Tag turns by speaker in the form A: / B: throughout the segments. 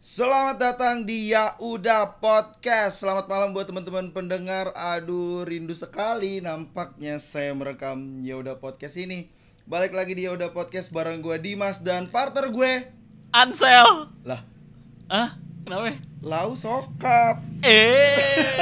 A: Selamat datang di Ya Udah Podcast. Selamat malam buat teman-teman pendengar. Aduh, rindu sekali nampaknya saya merekam Ya Udah Podcast ini. Balik lagi di Ya Udah Podcast bareng gue Dimas dan partner gue.
B: Ansel.
A: Lah,
B: Ah, kenapa?
A: Lau Sokap.
B: Eh.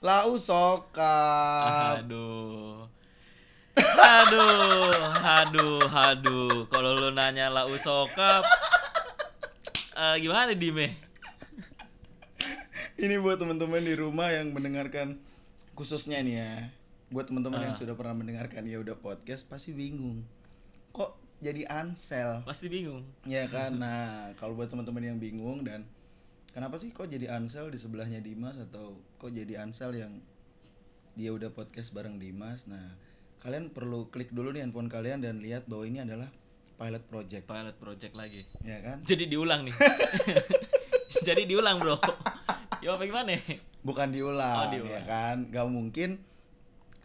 A: Lau Sokap.
B: Aduh. Aduh, aduh, aduh. Kalau lu nanya lau sokap eh, gimana Dime?
A: Ini buat teman-teman di rumah yang mendengarkan khususnya nih ya. Buat teman-teman yang sudah pernah mendengarkan Ya Udah Podcast pasti bingung. Kok jadi Ansel?
B: Pasti bingung.
A: Ya kan. Nah, kalau buat teman-teman yang bingung dan kenapa sih kok jadi Ansel di sebelahnya Dimas atau kok jadi Ansel yang dia udah podcast bareng Dimas. Nah, kalian perlu klik dulu nih handphone kalian dan lihat bahwa ini adalah pilot project,
B: Pilot project lagi.
A: ya kan?
B: Jadi diulang nih. Jadi diulang, Bro. Ya apa gimana?
A: Bukan diulang,
B: Oh, diulang.
A: ya kan? Gak mungkin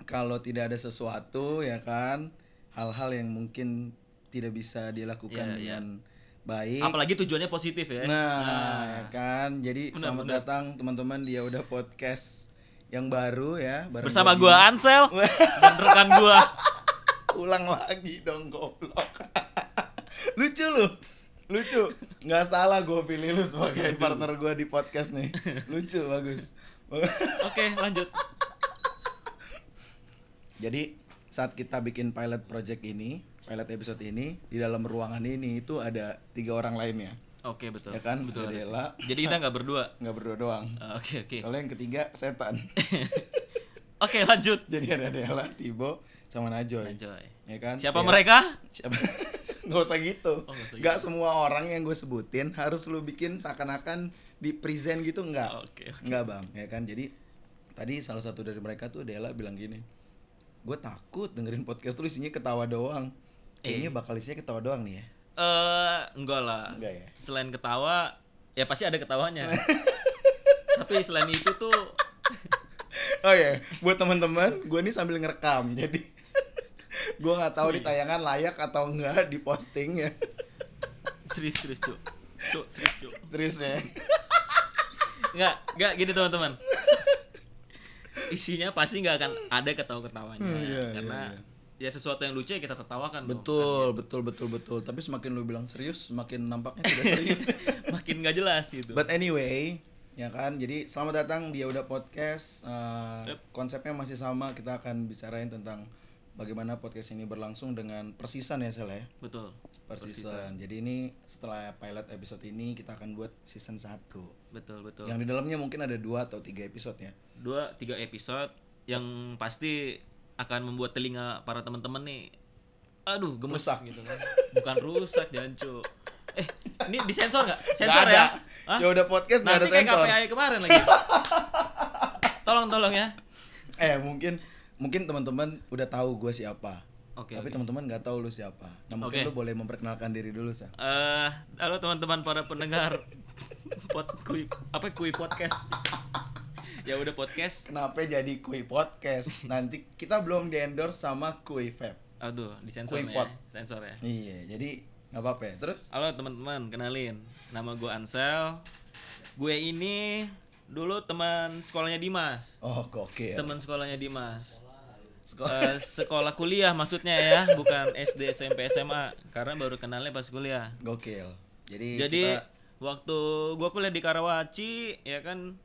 A: kalau tidak ada sesuatu, ya kan? Hal-hal yang mungkin tidak bisa dilakukan
B: Iya, iya.
A: dengan baik.
B: Apalagi tujuannya positif ya.
A: Nah, ya kan. Jadi selamat datang teman-teman dia udah podcast yang baru ya bareng
B: Bersama
A: gua
B: gua Ansel dan rekan gua.
A: Dimas. ulang lagi dong goblok. lucu lu. Lucu. nggak salah gue pilih lu sebagai partner gua di podcast nih. Lucu bagus.
B: Oke, lanjut.
A: Jadi saat kita bikin pilot project ini, pilot episode ini di dalam ruangan ini itu ada tiga orang lainnya.
B: Oke, betul.
A: Ya kan?
B: Betul.
A: Ada
B: ada.
A: Ella,
B: Jadi kita nggak berdua.
A: nggak berdua doang.
B: Ah, Oke, oke.
A: Kalau yang ketiga setan.
B: Oke, lanjut.
A: Jadi ada Dela, Tibo, sama Najoy.
B: Enjoy.
A: Ya kan?
B: Siapa
A: Ya.
B: mereka?
A: Siapa? Nggak usah gitu.
B: Oh, nggak usah
A: Nggak semua orang yang gue sebutin harus lu bikin seakan-akan di present gitu nggak?
B: Oke.
A: Nggak bang, ya kan? Jadi tadi salah satu dari mereka tuh Dela bilang gini, gue takut dengerin podcast tuh isinya ketawa doang. Kayaknya bakal isinya ketawa doang nih ya?
B: Eh, enggak lah.
A: Enggak ya?
B: Selain ketawa, ya pasti ada ketawanya. Tapi selain itu tuh
A: Oh iya, buat teman-teman, gue nih sambil ngerekam, jadi gue nggak tahu di tayangan layak atau enggak di posting ya.
B: serius serius cuk. Cuk, serius cuk.
A: Terus ya.
B: Enggak, enggak gini teman-teman. Isinya pasti nggak akan ada ketawa-ketawanya.
A: Hmm, iya, iya,
B: karena ya sesuatu yang lucu ya kita tertawakan dong.
A: Betul, betul, betul, betul. Tapi semakin lu bilang serius, semakin nampaknya tidak serius. Gitu.
B: Gitu. Makin nggak jelas gitu.
A: But anyway, ya kan. Jadi selamat datang dia udah podcast. Uh, Konsepnya masih sama. Kita akan bicarain tentang bagaimana podcast ini berlangsung dengan persisan ya Sel ya.
B: Betul.
A: Persisan. Jadi ini setelah pilot episode ini kita akan buat season 1
B: Betul, betul.
A: Yang di dalamnya mungkin ada dua atau tiga episode ya.
B: Dua, tiga episode yang pasti akan membuat telinga para teman-teman nih aduh gemes gitu kan. Bukan rusak jancu. Eh, ini disensor nggak? Sensor
A: Nggak ada.
B: ya? Hah?
A: Ya udah podcast nggak ada
B: Nanti kayak
A: sensor.
B: KPI kemarin lagi. tolong tolong ya.
A: Eh mungkin mungkin teman-teman udah tahu gue siapa.
B: Oke.
A: Tapi teman-teman nggak tahu lu siapa. Nah, mungkin
B: Oke.
A: lu boleh memperkenalkan diri dulu, Sa.
B: Eh, halo teman-teman para pendengar pot kui apa kui podcast. ya udah podcast.
A: Kenapa jadi Kui Podcast? Nanti kita belum di-endorse sama Kui Fab.
B: Aduh, disensor
A: Kui
B: nih
A: pot.
B: ya. Sensor ya.
A: Iya, jadi nggak apa-apa ya. Terus
B: Halo teman-teman, kenalin. Nama gue Ansel. Gue ini dulu teman sekolahnya Dimas.
A: oh gokil.
B: Teman sekolahnya Dimas.
A: Sekolah
B: Eh, sekolah kuliah maksudnya ya, bukan SD, SMP, SMA. Karena baru kenalnya pas kuliah.
A: gokil. Jadi,
B: Jadi
A: Iya, kita
B: waktu gue kuliah di Karawaci, ya kan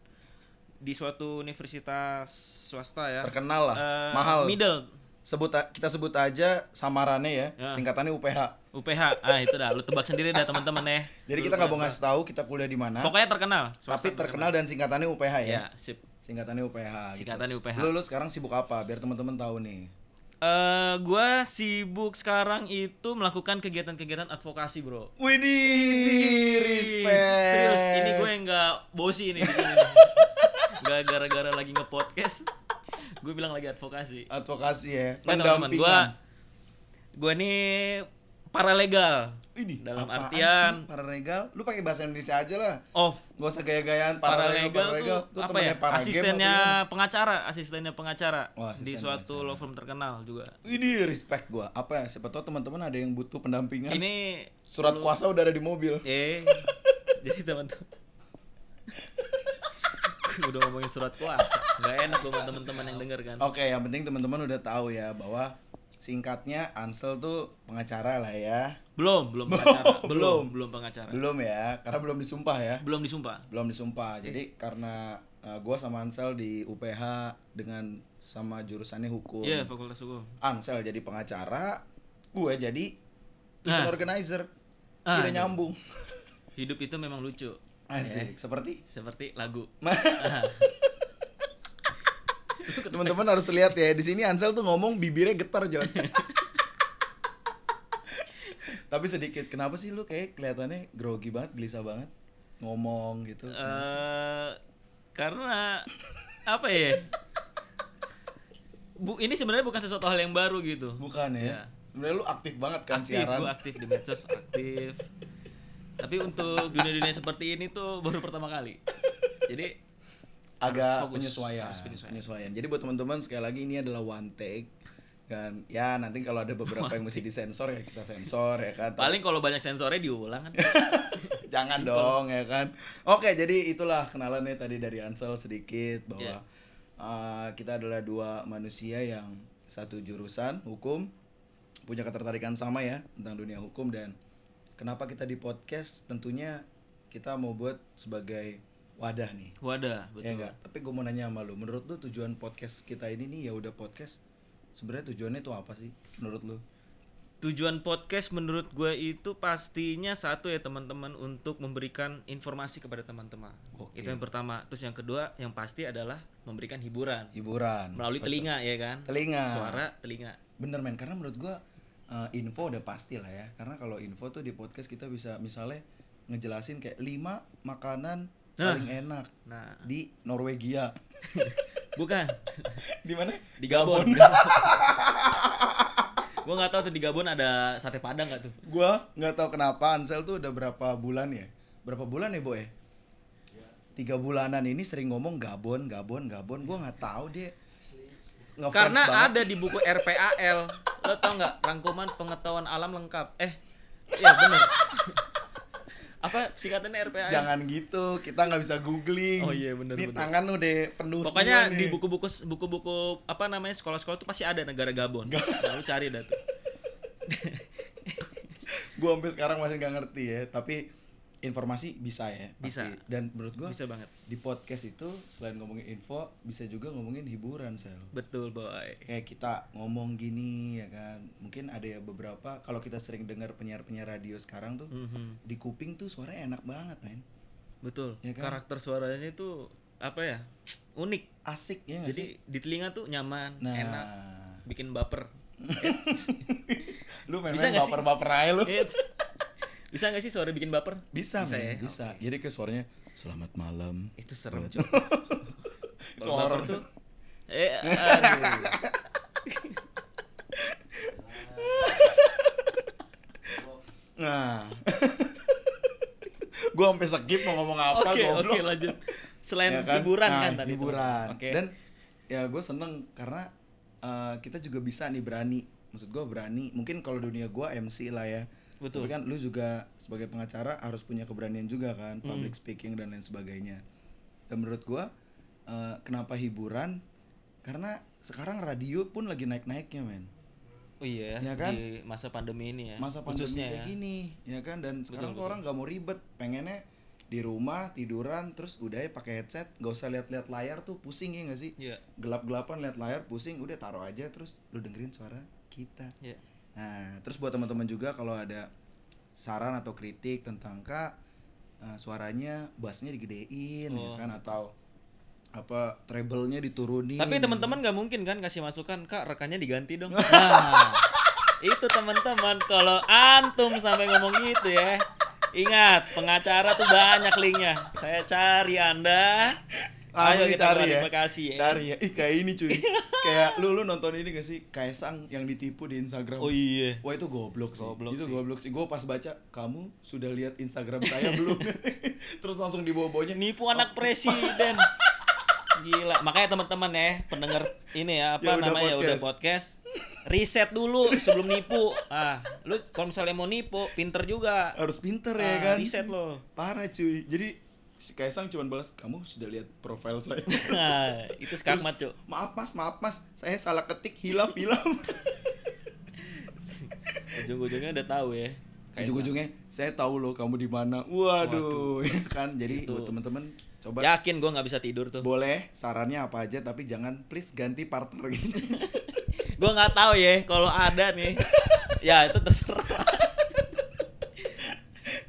B: di suatu universitas swasta ya.
A: terkenal lah,
B: Eh,
A: mahal.
B: Middle
A: Sebut a- kita sebut aja samarannya ya, singkatannya UPH.
B: UPH. Ah, itu dah lu tebak sendiri dah teman-teman ya.
A: Jadi kita nggak mau ngasih tahu kita kuliah di mana,
B: Pokoknya terkenal.
A: tapi terkenal dan singkatannya UPH ya.
B: Ya, sip.
A: Singkatannya UPH.
B: Singkatannya UPH.
A: gitu. Lu, lu sekarang sibuk apa? Biar teman-teman tahu nih.
B: Eh, gua sibuk sekarang itu melakukan kegiatan-kegiatan advokasi, Bro.
A: Widih,
B: Ih,
A: respect.
B: Serius, ini gue nggak bosi ini. bikin ini. Nggak gara-gara lagi nge-podcast. gue bilang lagi advokasi
A: advokasi ya
B: Nggak, teman-teman gue
A: pendampingan
B: gue nih paralegal
A: ini
B: dalam
A: apaan
B: artian-
A: sih paralegal lu pakai bahasa Indonesia aja lah
B: oh
A: gak usah gaya-gayaan paralegal
B: paralegal
A: paralegal
B: tuh apa ya
A: paragame
B: asistennya
A: apa
B: pengacara asistennya pengacara
A: Oh, asisten
B: di suatu law firm terkenal juga
A: gimana? ini respect gua apa ya siapa tahu teman-teman ada yang butuh pendampingan
B: ini
A: surat kuasa udah ada di mobil
B: eh jadi teman-teman udah ngomongin surat kuasa nggak enak gue sama teman-teman yang denger kan
A: Oke, yang penting teman-teman udah tahu ya bahwa singkatnya Ansel tuh pengacara lah ya.
B: belum belum pengacara
A: belum.
B: belum belum pengacara
A: Belum ya, karena belum disumpah ya.
B: belum disumpah
A: Belum disumpah.
B: Iya.
A: Jadi karena uh, gua sama Ansel di UPH dengan sama jurusannya hukum.
B: iya fakultas hukum
A: Ansel jadi pengacara, gue jadi event
B: nah
A: organizer.
B: Ah,
A: Tidak nyambung.
B: hidup itu memang lucu
A: Asik. Seperti
B: seperti lagu Nah,
A: teman-teman harus lihat ya di sini Ansel tuh ngomong bibirnya getar John tapi sedikit kenapa sih lu kayak kelihatannya grogi banget gelisah banget ngomong gitu
B: eh karena apa ya bu ini sebenarnya bukan sesuatu hal yang baru gitu
A: bukan ya
B: Ya.
A: sebenarnya lu aktif banget kan
B: aktif
A: siaran
B: gue aktif di medsos aktif tapi untuk dunia-dunia seperti ini tuh baru pertama kali jadi
A: agak
B: fokus,
A: penyesuaian,
B: harus penyesuaian.
A: penyesuaian. Jadi buat teman-teman sekali lagi ini adalah one take dan ya nanti kalau ada beberapa yang mesti disensor ya kita sensor ya kan.
B: paling kalau banyak sensornya diulang kan
A: Jangan dong ya kan. Oke, jadi itulah kenalannya tadi dari Ansel sedikit bahwa
B: Iya.
A: uh, kita adalah dua manusia yang satu jurusan hukum punya ketertarikan sama ya tentang dunia hukum dan kenapa kita di podcast tentunya kita mau buat sebagai wadah nih.
B: wadah
A: Ya
B: betul
A: enggak, tapi gue mau nanya sama lu, menurut lu tujuan podcast kita ini nih ya udah podcast sebenarnya tujuannya itu apa sih menurut lu?
B: tujuan podcast menurut gue itu pastinya satu ya teman-teman untuk memberikan informasi kepada teman-teman
A: Oke.
B: itu yang pertama terus yang kedua yang pasti adalah memberikan hiburan
A: Hiburan.
B: melalui telinga ya kan
A: Telinga.
B: suara telinga
A: Bener men, karena menurut gua uh, info udah pasti lah ya. Karena kalau info tuh di podcast kita bisa misalnya ngejelasin kayak 5 makanan paling enak
B: nah
A: di Norwegia.
B: bukan
A: di mana?
B: di Gabon gue nggak tahu tuh di Gabon ada sate padang nggak tuh
A: gua nggak tahu kenapa Ansel tuh udah berapa bulan ya? Berapa bulan ya, Boy? Tiga bulanan ini sering ngomong Gabon, Gabon, Gabon. Gua nggak tahu dia ngefans
B: karena
A: banget.
B: ada di buku RPAL lo tau nggak rangkuman pengetahuan alam lengkap eh ya bener apa singkatannya RPAL
A: jangan gitu kita nggak bisa googling
B: Oh iya, bener,
A: Ini
B: bener.
A: tangan udah penuh semua
B: Pokoknya di
A: nih.
B: buku-buku buku-buku apa namanya sekolah-sekolah tuh pasti ada negara Gabon. Nah, lu cari dah tuh.
A: gua sampai sekarang masih nggak ngerti ya tapi informasi bisa ya
B: Bisa.
A: pasti. dan menurut gua
B: Bisa banget.
A: di podcast itu selain ngomongin info bisa juga ngomongin hiburan sel
B: Betul, boy.
A: kayak kita ngomong gini ya kan mungkin ada ya beberapa kalau kita sering dengar penyiar-penyiar radio sekarang tuh
B: Mhm.
A: di kuping tuh suaranya enak banget men
B: Betul.
A: Ya kan?
B: Karakter suaranya itu apa ya? Unik.
A: asik ya nggak sih
B: Jadi di telinga tuh nyaman,
A: nah
B: enak, bikin baper.
A: lu main
B: Bisa nggak sih?
A: baper-baper aja lu
B: Eh, Bisa nggak sih suara bikin baper?
A: bisa bisa
B: Bisa ya?
A: bisa jadi kayak suaranya selamat malam
B: Itu serem,
A: Buat-
B: cuy.
A: Itu
B: Kalau baper
A: horor.
B: tuh eh aduh.
A: nah gue sampai skip mau ngomong apa
B: Oke,
A: goblok
B: oke lanjut. Selain
A: Ya kan?
B: hiburan
A: Nah,
B: kan tadi. tuh.
A: hiburan
B: Oke.
A: dan ya gue seneng karena eh, kita juga bisa nih berani maksud gue berani mungkin kalau dunia gue MC lah ya
B: Betul.
A: tapi kan lu juga sebagai pengacara harus punya keberanian juga kan
B: Hmm.
A: public speaking dan lain sebagainya dan menurut gue eh, kenapa hiburan karena sekarang radio pun lagi naik naiknya men
B: Oh iya,
A: Ya kan?
B: di masa pandemi ini ya.
A: masa pandemi
B: khususnya
A: kayak
B: ya.
A: gini ya kan dan sekarang tuh orang nggak mau ribet pengennya di rumah tiduran terus udah ya pakai headset nggak usah lihat-lihat layar tuh pusing ya nggak sih
B: Iya.
A: gelap-gelapan lihat layar pusing udah taruh aja terus lu dengerin suara kita
B: Iya.
A: nah terus buat teman-teman juga kalau ada saran atau kritik tentang kak eh, suaranya bassnya digedein ya
B: Oh.
A: kan atau apa treble-nya diturunin
B: Tapi teman-teman nggak mungkin kan kasih masukan, Kak, rekannya diganti dong. Nah, itu teman-teman kalau antum sampai ngomong gitu ya. Ingat, pengacara tuh banyak linknya. Saya cari Anda Ayo
A: Asli
B: kita
A: cari ya.
B: klarifikasi ya.
A: Cari ya. Ih kayak ini cuy. kayak lu lu nonton ini gak sih? Kaisang yang ditipu di Instagram.
B: Oh iya.
A: Wah itu goblok sih.
B: Goblok
A: itu
B: sih.
A: goblok sih. Gue pas baca, kamu sudah lihat Instagram saya belum? Terus langsung dibobonya.
B: Nipu
A: Oh.
B: anak presiden. Gila. Makanya teman-teman ya, pendengar ini ya apa
A: Ya udah podcast.
B: namanya udah podcast. Riset dulu sebelum nipu. Ah, lu kalau misalnya mau nipu, pinter juga.
A: Harus pinter ya
B: Ah,
A: kan?
B: Riset lo.
A: Parah cuy. Jadi si Kaisang cuma balas, kamu sudah lihat profil saya.
B: Nah, itu skakmat, Cuk.
A: maaf mas, maaf mas, saya salah ketik hilaf hilaf.
B: Ujung-ujungnya udah tahu ya. Kayak
A: Ujung-ujungnya saya tahu loh kamu di mana. Waduh, ya kan. Jadi
B: Itu.
A: buat temen-temen coba
B: Yakin gua nggak bisa tidur tuh.
A: boleh sarannya apa aja tapi jangan please ganti partner gitu.
B: Gua nggak tahu ya kalau ada nih. ya itu terserah.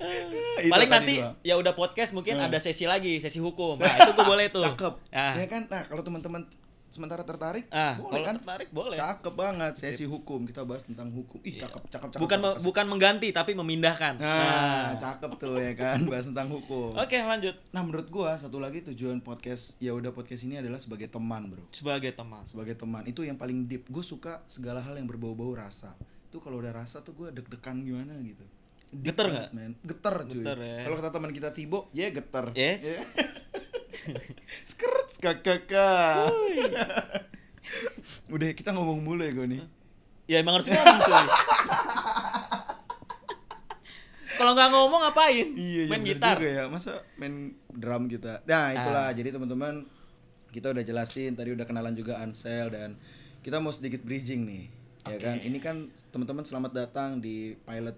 A: Itu
B: Paling
A: tadi
B: nanti
A: doang.
B: ya udah podcast mungkin
A: Eh.
B: ada sesi lagi, sesi hukum. Nah, itu gua boleh tuh.
A: Cakep.
B: Ah.
A: Ya kan? Nah, kalau teman-teman sementara tertarik,
B: Ah,
A: boleh
B: kalau
A: kan?
B: tertarik boleh.
A: Cakep banget sesi hukum. Kita bahas tentang hukum. Ih, cakep, cakep, cakep.
B: bukan me-
A: cakep.
B: bukan mengganti tapi memindahkan.
A: Nah,
B: Nah.
A: cakep tuh ya kan bahas tentang hukum.
B: Oke, lanjut.
A: Nah, menurut gua satu lagi tujuan podcast ya udah podcast ini adalah sebagai teman, Bro.
B: Sebagai teman.
A: Sebagai teman itu yang paling deep. Gue suka segala hal yang berbau-bau rasa. Itu kalau udah rasa tuh gua deg-degan gimana gitu. Deep
B: Geter
A: banget,
B: nggak?
A: men. Geter, cuy.
B: Geter, ya.
A: Kalau kata teman kita Tibo, ya geter.
B: Yes.
A: Ya. Skrt, skakaka. Udah kita ngomong mulu ya gue nih.
B: Ya emang harus ngomong, cuy. Kalau nggak ngomong ngapain?
A: Iya,
B: Main
A: bener
B: gitar. Ah.
A: juga ya. Masa main drum kita. Nah, itulah. Jadi teman-teman, kita udah jelasin tadi udah kenalan juga Ansel dan kita mau sedikit bridging nih. Ya kan? Ini kan teman-teman selamat datang di pilot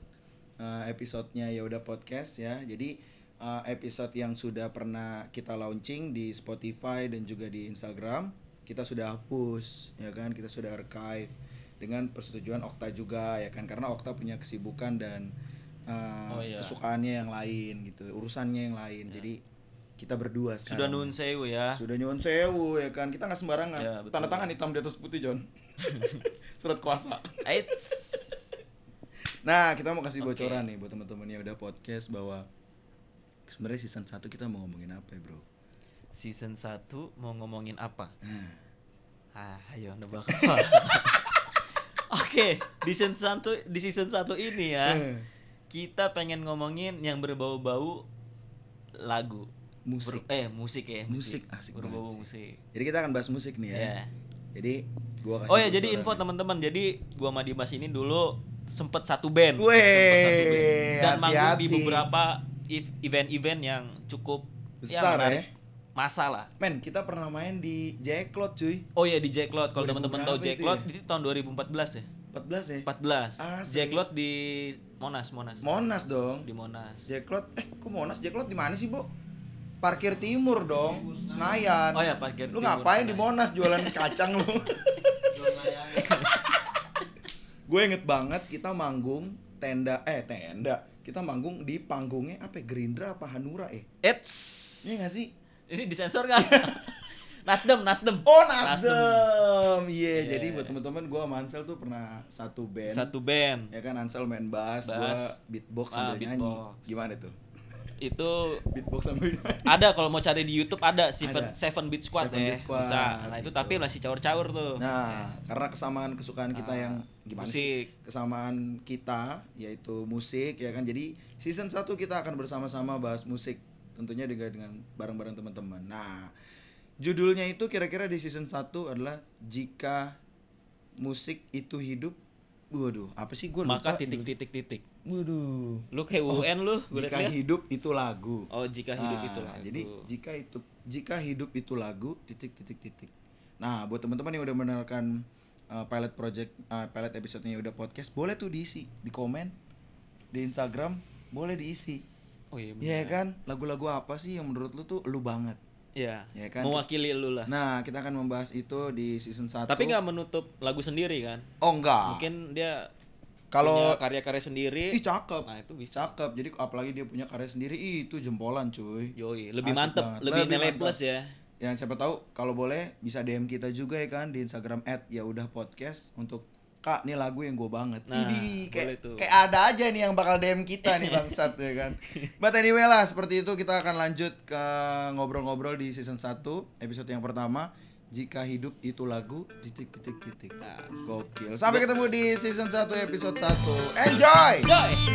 A: uh, episode-nya ya udah podcast ya. Jadi uh, episode yang sudah pernah kita launching di Spotify dan juga di Instagram, kita sudah hapus ya kan? Kita sudah archive dengan persetujuan Okta juga ya kan? Karena Okta punya kesibukan dan uh,
B: Oh, iya.
A: kesukaannya yang lain gitu urusannya yang lain jadi kita berdua
B: Ya. Sudah
A: sekarang
B: nun sewu ya.
A: sudah nyuwun sewu ya kan kita nggak sembarangan
B: Ya, betul.
A: tanda tangan hitam di atas putih John surat kuasa
B: Eits.
A: nah kita mau kasih
B: Oke.
A: bocoran nih buat teman-teman yang udah podcast bahwa sebenarnya season 1 kita mau ngomongin apa ya bro
B: Season 1 mau ngomongin apa?
A: Nah,
B: Ah, ayo nebak apa? Oke, di season 1 di season 1 ini ya.
A: Eh.
B: Kita pengen ngomongin yang berbau-bau lagu.
A: musik
B: Ber- eh, musik ya,
A: Musik, asik banget
B: berbau
A: sih.
B: musik.
A: jadi kita akan bahas musik nih ya
B: Iya.
A: jadi gua kasih
B: Oh ya, jadi
A: bocoran
B: info
A: nih.
B: teman-teman. Jadi gua sama Dimas ini dulu sempet satu band.
A: Weh,
B: Sempet satu band. Dan manggung di
A: hati-hati.
B: beberapa if- event-event yang cukup
A: Besar ya.
B: Masalah.
A: men kita pernah main di Jacklot cuy
B: Oh ya di Jacklot. Kalau
A: 2000
B: teman-teman tahu
A: berapa itu ya?
B: Jacklot itu tahun 2014 ya.
A: 14 ya
B: 14.
A: Asli.
B: Jacklot di Monas, Monas.
A: Monas dong
B: Di Monas.
A: Jacklot eh kok Monas Jacklot di mana sih, Bu? Parkir Timur dong, Senayan.
B: Oh ya, parkir
A: Lu
B: timur.
A: ngapain di Monas jualan kacang lu? Gue inget banget kita manggung tenda eh tenda. Kita manggung di panggungnya apa ya, Gerindra apa Hanura eh.
B: Eits.
A: Iya gak sih?
B: Ini disensor kan? Nasdem, Nasdem.
A: Oh Nasdem. Iya, jadi
B: Iya.
A: buat teman-teman gue sama Ansel tuh pernah satu band.
B: Satu band.
A: Ya kan Ansel main bass,
B: Bass.
A: gue beatbox sambil
B: Ah,
A: nyanyi.
B: beatbox.
A: Gimana tuh?
B: Itu
A: Beatbox sambil nyanyi.
B: ada kalau mau cari di YouTube ada Seven,
A: Ada.
B: Seven Beat Squad
A: Seven
B: ya.
A: Beat Squad,
B: Bisa. Nah,
A: gitu.
B: itu tapi masih caur-caur tuh.
A: Nah, karena kesamaan kesukaan kita yang gimana sih?
B: musik.
A: Kesamaan kita yaitu musik ya kan. Jadi season 1 kita akan bersama-sama bahas musik tentunya juga dengan bareng-bareng teman-teman. Nah, judulnya itu kira-kira di season 1 adalah jika musik itu hidup. Waduh, apa sih gue
B: Maka titik-titik-titik.
A: Waduh.
B: Lu kayak UN lu,
A: Oh,
B: gue
A: Jika
B: liat-liat.
A: hidup itu lagu.
B: Oh, jika hidup
A: Nah,
B: itu lah.
A: Jadi jika itu jika hidup itu lagu titik titik titik. Nah, buat teman-teman yang udah mendengarkan uh, pilot project uh, pilot episode-nya udah podcast, boleh tuh diisi di komen di Instagram, boleh diisi.
B: Oh iya. bener.
A: Iya kan? Lagu-lagu apa sih yang menurut lu tuh lu banget?
B: Iya.
A: Ya kan?
B: Mewakili lu lah.
A: Nah, kita akan membahas itu di season 1.
B: Tapi nggak menutup lagu sendiri kan?
A: Oh, enggak.
B: Mungkin dia
A: Kalau
B: punya karya-karya sendiri.
A: ih cakep.
B: Nah, itu bisa.
A: Cakep. Jadi apalagi dia punya karya sendiri, ih, itu jempolan, cuy.
B: Yoi, lebih
A: Asik
B: mantep,
A: banget.
B: lebih,
A: Lebih
B: nilai
A: mantep.
B: plus ya.
A: yang siapa tahu kalau boleh bisa DM kita juga ya kan di Instagram @ya udah podcast untuk kak nih lagu yang gue banget
B: Nah,
A: Idih, kayak
B: boleh tuh.
A: kayak ada aja nih yang bakal DM kita nih bangsat ya kan but anyway lah seperti itu kita akan lanjut ke ngobrol-ngobrol di season 1 episode yang pertama jika hidup itu lagu titik
B: ya.
A: titik titik nah, gokil sampai ketemu di season 1 episode 1 enjoy
B: Joy.